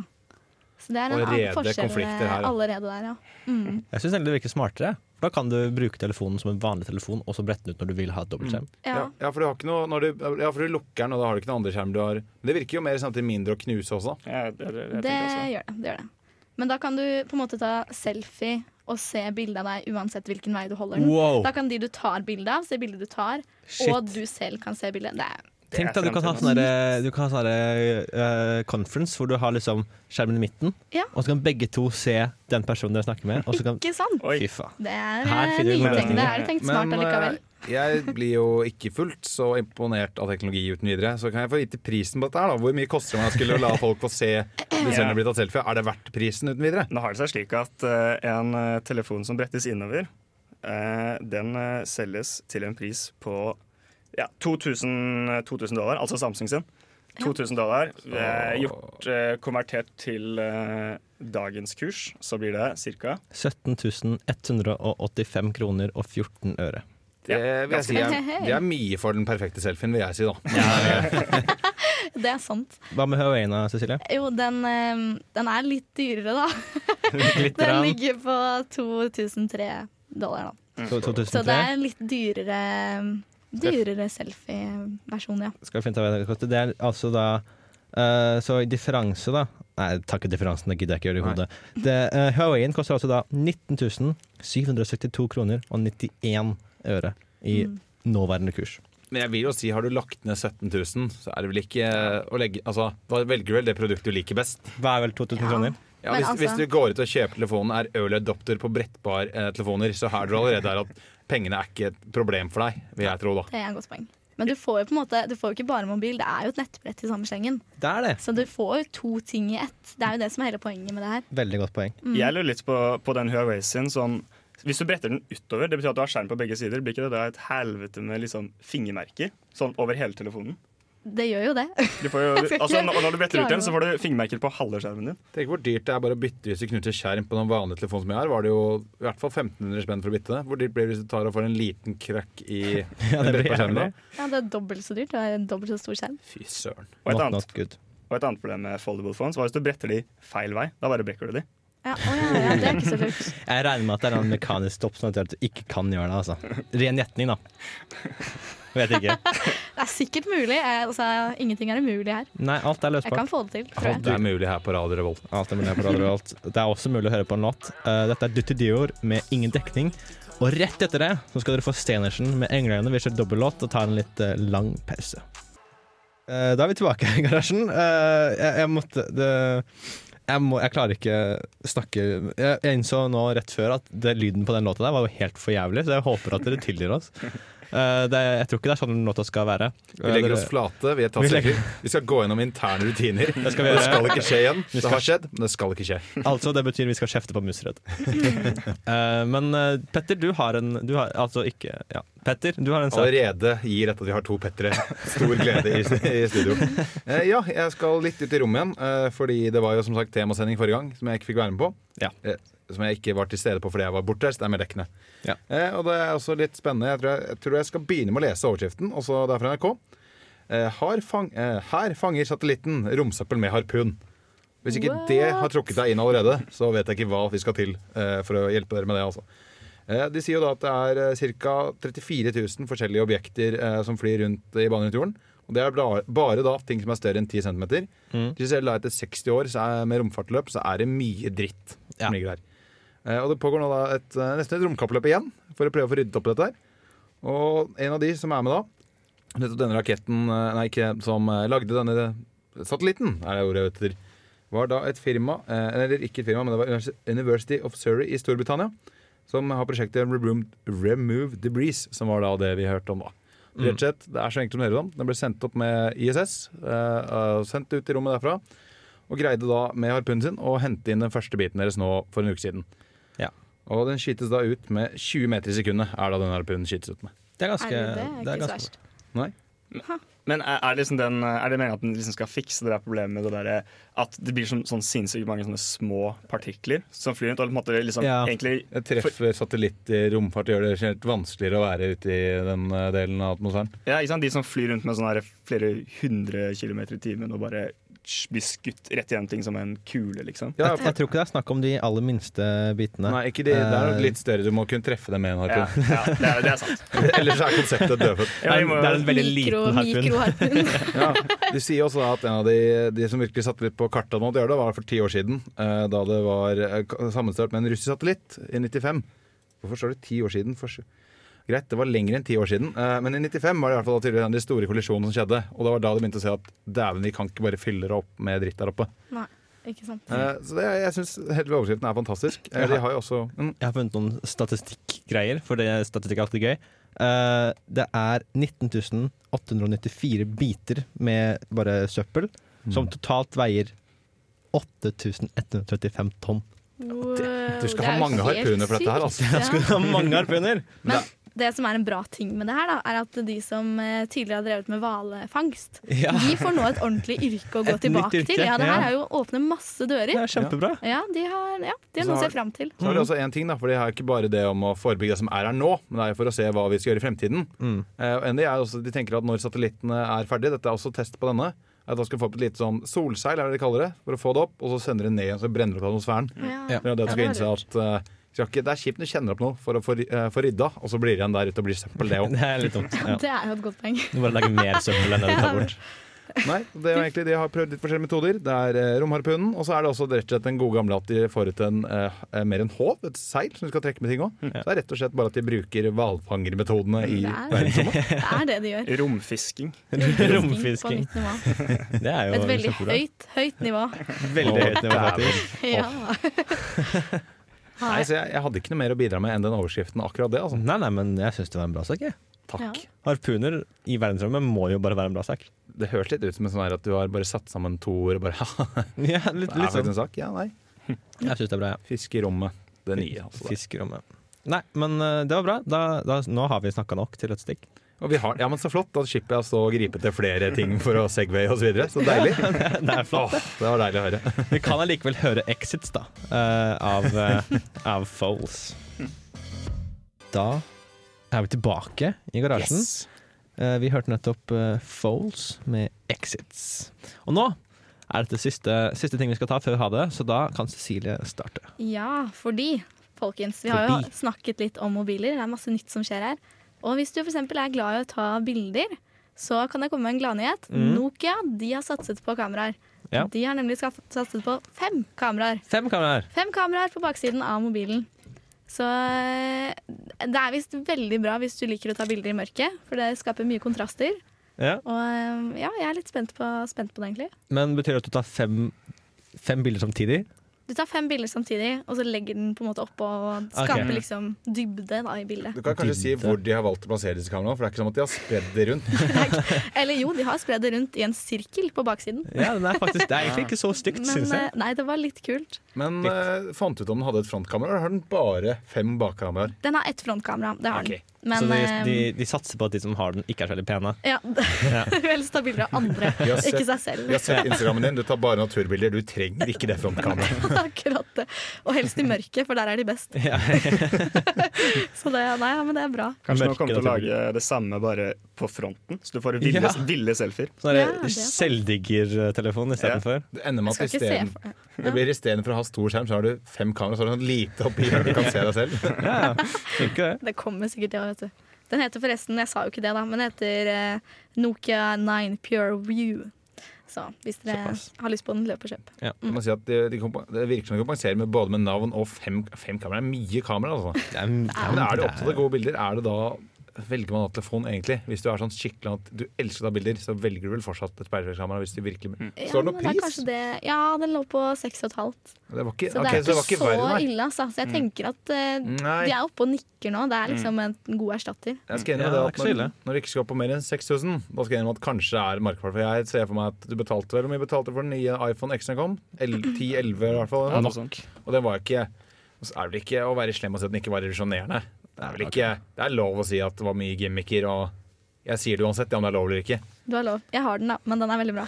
Speaker 2: Så det er en
Speaker 3: Allerede
Speaker 2: annen forskjell
Speaker 3: konflikter her,
Speaker 2: eh,
Speaker 3: ja.
Speaker 2: allerede der, ja.
Speaker 1: Jeg syns egentlig det virker smartere. For da kan du bruke telefonen som en vanlig telefon, og så brette den ut når du vil ha et dobbeltskjerm.
Speaker 2: ja.
Speaker 3: Ja. ja, for du har ikke noe når du, Ja, for du lukker den, og da har du ikke noen andre skjerm du har. Men det virker jo mer samtidig mindre å knuse også.
Speaker 4: Ja, det, det, det,
Speaker 2: Det,
Speaker 4: tenkte jeg også.
Speaker 2: gjør det, det gjør det. Men da kan du på en måte ta selfie og se bilde av deg uansett hvilken vei du holder den.
Speaker 1: Wow.
Speaker 2: Da kan de du tar bilde av, se bildet du tar,
Speaker 1: Shit.
Speaker 2: og du selv kan se bildet. Det er
Speaker 1: Tenk deg at du kan ha sånn derre- du kan ha sånn derre, eh, conference hvor du har liksom skjermen i midten,
Speaker 2: Ja.
Speaker 1: og så kan begge to se den personen dere snakker med. Og så kan,
Speaker 2: [laughs] ikke sant?
Speaker 4: Oi.
Speaker 1: fy faen.
Speaker 2: Det er
Speaker 1: Her
Speaker 2: eh,
Speaker 1: finner vi
Speaker 2: nytenkt.
Speaker 1: løsninger.
Speaker 2: Det er tenkt smart
Speaker 3: Men,
Speaker 2: allikevel.
Speaker 3: eh, jeg blir jo ikke fullt så imponert av teknologi uten videre. Så kan jeg få vite prisen på dette her, da. Hvor mye koster det om jeg skulle la folk få se disse
Speaker 4: Ja.
Speaker 3: bli tatt selfie? Er det verdt prisen uten videre?
Speaker 4: Nå har det seg slik at eh, en eh, telefon som brettes innover, eh, den eh, selges til en pris på ja, 2000, 2000 dollar, altså Samsung sin. 2000 dollar eh, gjort, eh, konvertert til eh, dagens kurs, så blir det ca.
Speaker 1: 17 185 kroner og 14 øre.
Speaker 4: Ja,
Speaker 3: Det, vil jeg si,
Speaker 2: ganske
Speaker 3: er, det er mye for den perfekte selfien, vil jeg si, da.
Speaker 2: Det er sant.
Speaker 1: Hva med Huawei-ena, Cecilie?
Speaker 2: Jo, den, eh, den er litt dyrere, da.
Speaker 1: Litt
Speaker 2: [laughs] Den
Speaker 1: rann.
Speaker 2: ligger på 2003 dollar, da.
Speaker 1: To-
Speaker 2: Så det
Speaker 1: 2003.
Speaker 2: er en litt dyrere Dyrere selfie-versjon, ja.
Speaker 1: Skal vi finne ut hva det koster. Det er altså da eh, Så i differanse, da Nei, takket differansen, det gidder jeg ikke gjøre i hodet. Det, eh, Huawei-en koster altså da
Speaker 2: Mm.
Speaker 1: 19 762 kroner og 91 øre i nåværende kurs.
Speaker 3: Men jeg vil jo si, har du lagt ned 17 000, så er det vel ikke å legge Altså, da velger du vel det produktet du liker best.
Speaker 1: Hva er vel 2000 kroner?
Speaker 3: Ja,
Speaker 2: Men
Speaker 3: hvis,
Speaker 2: altså-
Speaker 3: hvis du går ut og kjøper telefonen, er early adopter på brettbar-telefoner, så er du allerede der at pengene er ikke et problem for deg, vil jeg tro, da.
Speaker 2: Det er et godt poeng. Men du får jo på en måte, du får jo ikke bare mobil, det er jo et nettbrett i samme slengen.
Speaker 1: Det er det.
Speaker 2: Så du får jo to ting i ett. Det er jo det som er hele poenget med det her.
Speaker 1: Veldig godt poeng.
Speaker 4: Jeg lurer litt på, på den Huawei sin som Hvis du bretter den utover, det betyr at du har skjerm på begge sider. Blir ikke det da et helvete med liksom fingermerker sånn over hele telefonen?
Speaker 2: Det gjør jo det.
Speaker 4: Du får jo, altså, når, når du bretter ut
Speaker 2: Klarer
Speaker 4: den, så får du fingermerker på halve skjermen din.
Speaker 3: Tenk hvor dyrt det er bare å bytte hvis du knuter skjerm på noen vanlig telefon som jeg har. Var det jo i hvert fall 1500 spenn for å bytte det. Hvor dyrt blir det hvis du tar og får en liten krakk i [laughs] ja,
Speaker 1: det blir
Speaker 3: brettbarskjermen da?
Speaker 1: jævlig.
Speaker 2: Ja, det er dobbelt så dyrt. Det er en dobbelt så stor skjerm.
Speaker 3: Fy søren.
Speaker 4: Og et,
Speaker 1: Not,
Speaker 4: annet,
Speaker 1: not good.
Speaker 4: og et annet problem med foldable phones var hvis du bretter de feil vei. Da bare brekker du de.
Speaker 2: Ja, å ja, ja, det er ikke så lurt.
Speaker 1: Jeg regner med at det er noen mekanisk stopp som gjør at du ikke kan gjøre det. altså. Ren gjetning, [laughs] da. Vet ikke.
Speaker 2: Det er sikkert mulig. Jeg, altså, ingenting er umulig her.
Speaker 1: Nei, alt er
Speaker 2: Jeg
Speaker 1: løsbart.
Speaker 2: kan få det til, tror jeg.
Speaker 3: Alt er mulig her på Radio Revolt.
Speaker 1: Alt er mulig på Radio Revolt. Det er også mulig å høre på en låt. Eh, dette er Dutti Dior med Ingen dekning. Og rett etter det så skal dere få Stenersen med Englene. Vi kjører dobbellåt og tar en litt eh, lang pause. Eh, da er vi tilbake [laughs] i garasjen. Eh, jeg, jeg måtte det, jeg, må, jeg klarer ikke snakke jeg, jeg innså nå rett før at det, lyden på den låta der var jo helt for jævlig, så jeg håper at dere tilgir oss. Eh, det, jeg tror ikke det er sånn låta skal være. Eh,
Speaker 3: Vi legger oss flate. Vi, er tatt
Speaker 1: Vi legger-
Speaker 3: sikre. vi skal gå gjennom interne rutiner. Det
Speaker 1: skal vi gjøre.
Speaker 3: skal ikke skje igjen. Det har skjedd, men det skal ikke skje.
Speaker 1: Altså, det betyr vi skal kjefte på Musredd. Eh, men eh, Petter, du har en du har, Altså ikke Ja. Petter, du har en sak.
Speaker 3: Allerede gir dette at vi har to Pettere stor glede i, i studio. Eh, ja, jeg skal litt ut i rommet igjen, eh, fordi det var jo som sagt temasending forrige gang som jeg ikke fikk være med på.
Speaker 1: Ja.
Speaker 3: Eh, som jeg ikke var til stede på fordi jeg var bortreist. Det er mer dekkende.
Speaker 1: Ja.
Speaker 3: Eh, og det er også litt spennende. Jeg tror jeg, jeg tror jeg skal begynne med å lese overskriften, også det er fra NRK. Eh, har fang, eh, her fanger satellitten romsøppel med harpun. Hvis ikke det har trukket deg inn allerede, så vet jeg ikke hva vi skal til eh, for å hjelpe dere med det. altså. Eh, De sier jo da at det er ca. 34 000 forskjellige objekter eh, som flyr rundt i banen rundt jorden. Og det er bla- bare da ting som er større enn 10 cm.
Speaker 1: Mm.
Speaker 3: De sier da etter 60 år så er, med romfartløp så er det mye dritt
Speaker 1: Ja.
Speaker 3: som ligger der. Eh, Og det pågår nå da et, eh, nesten et romkappløp igjen for å prøve å få ryddet opp i dette her. Og en av de som er med da, nettopp denne raketten eh, Nei, ikke som eh, lagde denne satellitten, er det ordet jeg vet etter. Var da et firma, eh, eller ikke et firma, men det var Univers- University of Surrey i Storbritannia som har prosjektet Remove, Remove Debris, som var da det vi hørte om da. Rett og slett, Det er så enkelt å høre om. Den ble sendt opp med ISS, eh, eh, sendt ut i rommet derfra, og greide da med harpunen sin å hente inn den første biten deres nå for en uke siden.
Speaker 1: Ja.
Speaker 3: Og den skytes da ut med 20 meter i sekundet, er da den harpunen skytes ut med.
Speaker 1: Det er ganske,
Speaker 2: Herregud, det er
Speaker 1: det er
Speaker 2: ikke så
Speaker 1: ganske
Speaker 2: verst.
Speaker 3: Nei?
Speaker 4: Men er, er, det liksom den, er det meningen at den liksom skal fikse det der problemet med det derre at det blir sånn, sånn sinnssykt mange sånne små partikler som flyr rundt? Og på en måte liksom
Speaker 1: Ja.
Speaker 4: egentlig
Speaker 3: Det treffer satellitter, romfart, gjør det generelt vanskeligere å være ute i den eh, delen av atmosfæren.
Speaker 4: Ja, ikke sant? De som flyr rundt med sånne her flere hundre kilometer i timen og bare sj- blir skutt rett igjen ting som en kule, liksom.
Speaker 3: Ja,
Speaker 1: jeg, jeg tror ikke det er snakk om de aller minste bitene.
Speaker 3: Nei, ikke de, det er
Speaker 1: Eh,
Speaker 3: nok litt større. Du må kunne treffe dem med en
Speaker 4: Ja,
Speaker 3: harpun.
Speaker 4: ja det, er, det er
Speaker 1: [laughs]
Speaker 4: sant.
Speaker 3: [laughs] Ellers er konseptet dødfødt.
Speaker 4: Ja, vi må,
Speaker 1: det er en veldig
Speaker 2: Mikro-
Speaker 1: liten harpun.
Speaker 2: mikroharpun.
Speaker 3: [laughs] Ja, Du sier også da at en av de, de som virkelig satte litt på kartet nå, det gjør det, var for ti år siden. eh, Da det var eh, k- sammenstørt med en russisk satellitt i 95. Hvorfor står det ti år siden? For... sju- Greit, det var lenger enn ti år siden. eh, Men i 95 var det i hvert fall da tydeligvis den store kollisjonen som skjedde. Og det var da de begynte å se at dæven, vi kan ikke bare fylle det opp med dritt der oppe.
Speaker 2: Nei, ikke sant.
Speaker 3: Eh, Så det, jeg syns hele overskriften er fantastisk. Eh, De har jo også mm,
Speaker 1: Jeg har funnet noen statistikkgreier, for det statistikk er alltid gøy. Eh, det er 19 894 biter med bare søppel, Mm. som totalt veier 8135 [laughs] tonn.
Speaker 2: Wow,
Speaker 3: Du skal
Speaker 2: det
Speaker 3: ha
Speaker 2: er jo
Speaker 3: mange
Speaker 2: helt
Speaker 3: harpuner for dette her, altså.
Speaker 2: sykt. Ja.
Speaker 1: Skulle ha mange harpuner!
Speaker 2: Men det som er en bra ting med det her, da, er at de som eh, tidligere har drevet med hvalfangst,
Speaker 1: Ja.
Speaker 2: de får nå et ordentlig
Speaker 1: [laughs]
Speaker 2: yrke å gå
Speaker 1: Et nytt
Speaker 2: tilbake
Speaker 1: yrke,
Speaker 2: til. Ja, det her
Speaker 1: ja.
Speaker 2: er jo å åpne masse
Speaker 1: Det
Speaker 2: dører.
Speaker 1: er kjempebra.
Speaker 2: Ja, de har, ja, de
Speaker 3: Så
Speaker 2: har noe å
Speaker 3: har-
Speaker 2: se fram til.
Speaker 3: Så er det også en ting da, for Det er ikke bare det om å forebygge det som er her nå, men det er jo for å se hva vi skal gjøre i fremtiden.
Speaker 1: Mm.
Speaker 3: Eh, og en del er også, de tenker at Når satellittene er ferdige, dette er også test på denne, at da skal vi få opp et lite sånn solseil er det de kaller det, for å få det opp, og så sender det ned igjen så det brenner opp atmosfæren.
Speaker 2: Ja.
Speaker 3: For at dere
Speaker 2: Ja,
Speaker 3: skal
Speaker 2: det
Speaker 3: innse
Speaker 2: var
Speaker 3: at eh, vi skal ikke, Det er kjipt når du kjenner opp noe for å få ri- eh, få rydda, og så
Speaker 2: [laughs]
Speaker 3: blir det igjen der ute og blir søppel, det òg.
Speaker 1: Det er litt dumt. Ja.
Speaker 2: Det er jo et godt poeng.
Speaker 1: Du bare lager mer søppel enn det du tar bort.
Speaker 3: Nei, det er jo egentlig, De har prøvd litt forskjellige metoder. Det er eh, romharpunen, og så er det også rett og slett den gode gamle at de får ut en, eh, eh, mer en håv, et seil, som du skal trekke med ting òg. Så det er rett og slett bare at de bruker hvalfangermetodene i
Speaker 2: Nei.
Speaker 3: verdensrommet.
Speaker 2: Det er det de
Speaker 4: [laughs]
Speaker 2: gjør.
Speaker 4: Romfisking.
Speaker 2: På
Speaker 1: Romfisking.
Speaker 2: nytt nivå.
Speaker 1: Det er jo
Speaker 2: Et veldig
Speaker 1: kjempebra.
Speaker 2: høyt, høyt nivå.
Speaker 1: Veldig høyt nivå,
Speaker 3: Å,
Speaker 1: faktisk.
Speaker 2: Ja. [laughs]
Speaker 3: Nei, så jeg, jeg hadde ikke noe mer å bidra med enn den overskriften akkurat det. altså.
Speaker 1: Nei, nei, men jeg syns det var en bra sak, jeg.
Speaker 3: Takk.
Speaker 2: Ja.
Speaker 1: Harpuner i verdensrommet må jo bare være en bra sak.
Speaker 3: Det høres litt ut som en sånn her at du har bare satt sammen to ord og bare [laughs] haha,
Speaker 1: [laughs] Ja, litt,
Speaker 3: det er
Speaker 1: litt
Speaker 3: faktisk
Speaker 1: sånn.
Speaker 3: en sak. Ja, nei.
Speaker 1: Jeg syns det er bra, ja.
Speaker 3: Fisk i rommet. Det nye. altså. det.
Speaker 1: Fiskerommet. Nei, men eh, det var bra. Da, da, nå har vi snakka nok til et stikk.
Speaker 3: Og vi har, ja, men Så flott. Da slipper jeg å stå og gripe til flere ting for å Segway osv. Så, videre. så [laughs] deilig.
Speaker 1: Det er flott.
Speaker 3: Åh, det var deilig å høre.
Speaker 1: Vi kan allikevel høre exits, da, eh, av, eh, av Foles. Da er vi tilbake i garasjen. Eh, vi hørte nettopp uh, Foles med exits. Og nå er dette siste, siste ting vi skal ta før vi har det, så da kan Cecilie starte.
Speaker 2: ja, fordi, folkens, vi har jo
Speaker 1: Fordi.
Speaker 2: snakket litt om mobiler. Det er masse nytt som skjer her. Og hvis du f.eks. er glad i å ta bilder, så kan jeg komme med en gladnyhet. Nokia de har satset på kameraer.
Speaker 1: Mm. Ja.
Speaker 2: De har nemlig skaff- satset på fem kameraer.
Speaker 1: Fem kameraer.
Speaker 2: Fem kameraer på baksiden av mobilen. Så eh, det er visst veldig bra hvis du liker å ta bilder i mørket, for det skaper mye kontraster.
Speaker 1: Ja.
Speaker 2: Og eh, ja, jeg er litt spent på, spent på det, egentlig.
Speaker 1: Men betyr det at du tar fem, fem bilder samtidig?
Speaker 2: Du tar fem bilder samtidig, og så legger den på en måte oppå og skaper
Speaker 1: Ok.
Speaker 2: liksom dybde da, i bildet.
Speaker 3: Du kan kanskje si hvor de har valgt å plassere disse kameraene, for det er ikke som at de har spredd det rundt.
Speaker 2: Eller jo, de har spredd det rundt i en sirkel på baksiden.
Speaker 1: Ja, den er faktisk, Det er egentlig ikke så stygt,
Speaker 2: Men
Speaker 1: syns jeg.
Speaker 2: eh, nei, det var litt kult.
Speaker 3: Men eh, fant ut om den hadde et frontkamera, eller har den bare fem bakkameraer?
Speaker 2: Den har ett frontkamera, det har
Speaker 3: Ok.
Speaker 2: den. Men
Speaker 1: så de,
Speaker 2: eh,
Speaker 1: de, de satser på at de som har den, ikke er så veldig pene.
Speaker 2: ja, [laughs] vil helst ta bilder av andre,
Speaker 3: Vi har
Speaker 2: ikke
Speaker 3: sett-
Speaker 2: seg selv.
Speaker 3: Vi har sett Instagrammen din, du tar bare naturbilder. Du trenger ikke det frontkameraet.
Speaker 2: [laughs]
Speaker 3: [laughs]
Speaker 2: Akkurat det. Og helst i mørket, for der er de best.
Speaker 1: [laughs] Ja.
Speaker 2: Så det, nei, ja, men det er bra.
Speaker 4: Kanskje
Speaker 1: Mørke
Speaker 4: nå kommer til å
Speaker 1: naturlig.
Speaker 4: lage det samme bare på fronten, så du får ville,
Speaker 1: Ja.
Speaker 4: ville selfier.
Speaker 1: Sånn
Speaker 2: Ja, det
Speaker 1: ja,
Speaker 2: er sant.
Speaker 1: selvdiggertelefon istedenfor.
Speaker 3: Det ender med
Speaker 2: Skal
Speaker 3: at
Speaker 2: ikke se
Speaker 3: isteden
Speaker 2: for
Speaker 3: Det blir istedenfor å ha stor skjerm, så har du fem kameraer, så har du sånn lite oppi her du kan se deg selv.
Speaker 1: Ja, funker det.
Speaker 2: Det kommer sikkert til, vet du. Den heter forresten, jeg sa jo ikke det da, men den heter eh, Nokia 9 Pure View. Så hvis dere
Speaker 1: Såpass.
Speaker 2: har lyst på den, løp og kjøp.
Speaker 3: Jeg må si at de, de kompa- det virker som de kompenserer med både med navn og fem, fem kameraer. Det er Mye kameraer, altså.
Speaker 1: Det er, ja,
Speaker 3: Men er du
Speaker 1: det
Speaker 3: opptatt av gode bilder, er det da velger man da telefon, egentlig? Hvis du er sånn skikkelig at du elsker å ta bilder, så velger du vel fortsatt et speilreflekskamera hvis du virkelig
Speaker 1: Mm.
Speaker 2: Ja,
Speaker 3: Står
Speaker 2: men
Speaker 3: det noe
Speaker 2: det er
Speaker 3: pris?
Speaker 2: kanskje Det, ja, den lå på 6,5.
Speaker 3: Det var ikke,
Speaker 2: Så
Speaker 3: ok,
Speaker 2: det er
Speaker 3: så
Speaker 2: ikke,
Speaker 3: det var ikke
Speaker 2: så
Speaker 3: verre, nei. Mm.
Speaker 2: ille, altså. Så jeg tenker at eh,
Speaker 3: Nei. Mm.
Speaker 2: de er oppe og nikker nå. Det er liksom en god erstatter.
Speaker 3: Jeg skal
Speaker 1: Ja, det er
Speaker 3: innrømme
Speaker 1: ikke
Speaker 3: det at
Speaker 1: så ille.
Speaker 3: når, når du ikke skal på mer enn 6000, da skal jeg innrømme at kanskje er markedsverdi. For jeg ser for meg at du betalte vel hvor mye betalte du for den nye iPhone X som kom? 10-11 i hvert
Speaker 1: sånn.
Speaker 3: fall.
Speaker 4: Ja, sånn. noe sånt.
Speaker 3: Og den var ikke Og så er det vel ikke å være slem og si at den ikke var revolusjonerende. Det er vel ikke Det er lov å si at det var mye gimmicker og jeg sier det uansett, ja, om det er lov eller ikke.
Speaker 2: Du har lov. Jeg har den, da, men den er veldig bra.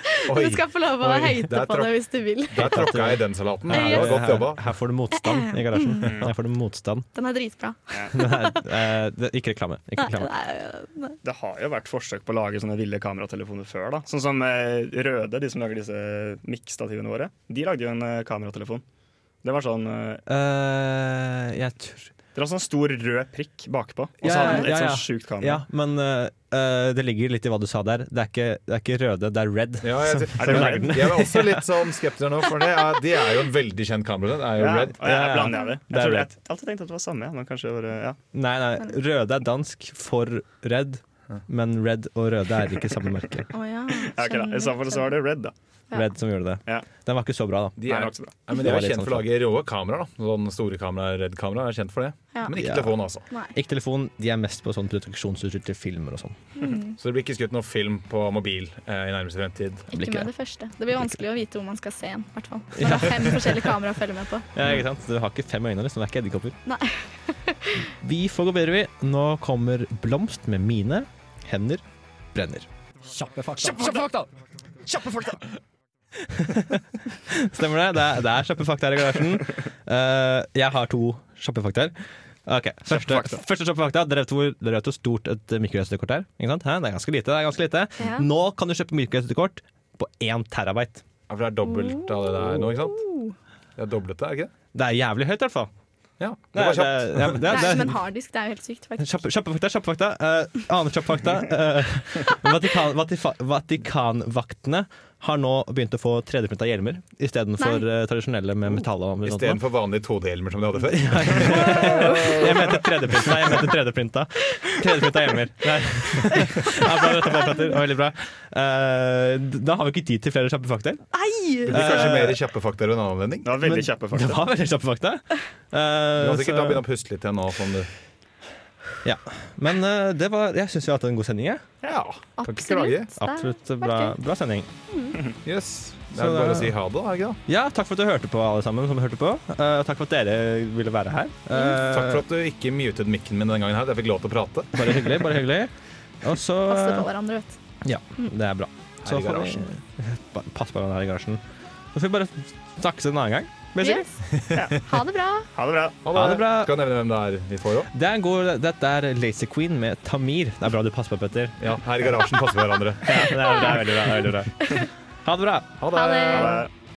Speaker 2: [laughs]
Speaker 3: Oi,
Speaker 2: Du skal få lov å
Speaker 3: Oi,
Speaker 2: høyte
Speaker 3: der
Speaker 2: på det
Speaker 3: tråkk-
Speaker 2: hvis du vil.
Speaker 3: der tråkka jeg i den salaten.
Speaker 2: Ja, Mm.
Speaker 3: Det var godt
Speaker 1: her,
Speaker 3: jobba.
Speaker 1: her får du motstand i garasjen. Her får du motstand.
Speaker 2: Den er dritbra.
Speaker 1: Nei, eh, det, ikke reklame. Ikke
Speaker 2: Nei,
Speaker 1: reklame.
Speaker 2: nei, nei.
Speaker 4: Det har jo vært forsøk på å lage sånne ville kameratelefoner før. da. Sånn som eh, Røde, de som lager disse mikkstativene våre, de lagde jo en eh, kameratelefon. Det var sånn eh,
Speaker 1: Eh, jeg tror
Speaker 4: Det var sånn stor rød prikk bakpå, og
Speaker 1: Ja,
Speaker 4: så hadde
Speaker 1: ja,
Speaker 4: den et
Speaker 1: ja.
Speaker 4: sånn sjukt kamera.
Speaker 1: Ja, men eh, eh, det ligger litt i hva du sa der. Det er ikke, det er ikke røde, det er red.
Speaker 3: Ja, jeg,
Speaker 4: Er det red?
Speaker 3: jeg var også litt sånn skeptisk nå, for det er, de er jo en veldig kjent kamera. Det er jo
Speaker 4: Ja,
Speaker 3: Red.
Speaker 4: og jeg,
Speaker 1: Ja, ja.
Speaker 4: jeg blander jeg det.
Speaker 1: Det
Speaker 4: Jeg,
Speaker 1: er
Speaker 4: tror,
Speaker 1: red.
Speaker 4: jeg, alltid tenkte at det var samme, men kanskje det var eh, ja.
Speaker 1: Nei, nei, røde er dansk for red, men red og røde er ikke samme merke.
Speaker 2: Å
Speaker 3: [laughs]
Speaker 2: ja.
Speaker 4: Ja, ok, da.
Speaker 2: skjønner,
Speaker 4: I så fall så var det Red, da.
Speaker 2: [laughs] Ja.
Speaker 1: Red som gjorde det.
Speaker 4: Ja.
Speaker 1: Den var ikke så bra, da.
Speaker 3: De
Speaker 4: Nei, det
Speaker 3: er
Speaker 4: var ikke så bra.
Speaker 3: Nei, men
Speaker 1: Det
Speaker 3: De
Speaker 1: var
Speaker 3: er
Speaker 1: litt
Speaker 3: kjent for å
Speaker 1: sånn
Speaker 3: lage rå kameraer. da Sånn Store kameraer, Red-kameraer er kjent for det.
Speaker 2: Ja.
Speaker 3: Men ikke
Speaker 1: Ja.
Speaker 3: telefon, altså.
Speaker 2: Nei.
Speaker 1: Ikke telefon, de er mest på sånn produksjonsutstyr til filmer og sånn.
Speaker 3: Så det blir ikke skutt noen film på mobil eh, i nærmeste fremtid.
Speaker 1: blir
Speaker 2: Ikke
Speaker 1: ikke det.
Speaker 2: med det første. Det blir vanskelig å vite hvor man skal se en.
Speaker 1: [laughs]
Speaker 2: i hvert fall. Når det er fem forskjellige kameraer å følge med på.
Speaker 1: Ja, ikke sant? Du har ikke fem øyne, liksom. Det er ikke edderkopper.
Speaker 2: Nei. [laughs]
Speaker 1: vi får gå videre, vi. Nå kommer Blomst med mine hender brenner.
Speaker 5: Kjappe fakta. Kjappe fakta!
Speaker 1: Stemmer det? Det er, det er kjappe fakta her i garasjen. Eh, jeg har to kjappe fakta her. Ok, Første
Speaker 4: fakta.
Speaker 1: første kjappe fakta. Dere vet hvor, dere vet hvor stort et mikroSD-kort er? Ikke sant? Hæ? Det er ganske lite. det er ganske lite.
Speaker 2: Ja.
Speaker 1: Nå kan du kjøpe mikroSD-kort på 1 terabyte.
Speaker 3: Ja, for det er dobbelt av det der nå, ikke sant?
Speaker 2: Oh.
Speaker 3: Det er doblet det, er det ikke det?
Speaker 1: Det er jævlig høyt, i hvert fall.
Speaker 3: Ja, det
Speaker 1: Nei,
Speaker 3: var kjapt.
Speaker 1: ja, men
Speaker 2: Det er
Speaker 1: det-
Speaker 2: som en harddisk. Det er jo helt sykt, faktisk.
Speaker 1: Kjappe kjappe fakta. kjappe fakta Eh, Annen kjappe fakta. Eh, Vatikan, Vatifa, Vatikanvaktene har nå begynt å få 3D-printa hjelmer istedenfor
Speaker 2: Nei.
Speaker 1: uh, tradisjonelle med metall. og sånt.
Speaker 3: Istedenfor vanlige todehjelmer som de hadde [laughs] før.
Speaker 1: Jeg mente 3D-printa. Jeg mente 3D-printa 3D-printa hjelmer. Nei. Ja, bra, dette var bra, Petter. Veldig bra. Eh, da har vi ikke tid til flere kjappe fakta.
Speaker 3: Det
Speaker 2: Nei!
Speaker 3: blir kanskje mer kjappe fakta ved en annen anledning.
Speaker 4: Det var veldig kjappe,
Speaker 1: Det
Speaker 4: faktisk.
Speaker 1: var veldig kjappe fakta.
Speaker 3: Du
Speaker 1: Eh,
Speaker 3: kan sikkert da
Speaker 1: så-
Speaker 3: begynne å puste litt igjen nå. Som du.
Speaker 1: men eh, det var, jeg syns vi har hatt en god sending. Jeg.
Speaker 3: Ja, kan ikke klage.
Speaker 2: Absolutt.
Speaker 1: Absolutt
Speaker 2: Det er
Speaker 1: bra,
Speaker 2: artig.
Speaker 1: bra sending.
Speaker 3: Yes. Det
Speaker 1: Så
Speaker 3: er bare
Speaker 1: da-
Speaker 3: å si ha det, da. er det Ikke da?
Speaker 1: Ja, takk for at du hørte på, alle sammen som hørte på. Eh, takk for at dere ville være her. Eh,
Speaker 3: Mm, Takk for at du ikke mutet mikken min den gangen her. Jeg fikk lov til å prate.
Speaker 1: Bare hyggelig, bare hyggelig. Og så
Speaker 2: Passe på hverandre, vet du.
Speaker 1: Ja, det er bra.
Speaker 3: Her i
Speaker 1: får vi-
Speaker 3: garasjen.
Speaker 1: Ba- [laughs] Pass på hverandre her i garasjen. Så får vi bare snakkes en annen gang. basically.
Speaker 2: Yes. Ha det bra.
Speaker 4: Ha det bra.
Speaker 1: Ha det bra.
Speaker 3: Skal jeg nevne hvem det er vi får òg?
Speaker 1: Det er en god, dette er Lazy Queen med Tamir. Det er bra du passer på, Petter.
Speaker 3: Ja, her i garasjen passer vi hverandre.
Speaker 1: Ja, det er, det er veldig bra. det er veldig bra. Ha det bra.
Speaker 2: Ha det.
Speaker 4: Ha det.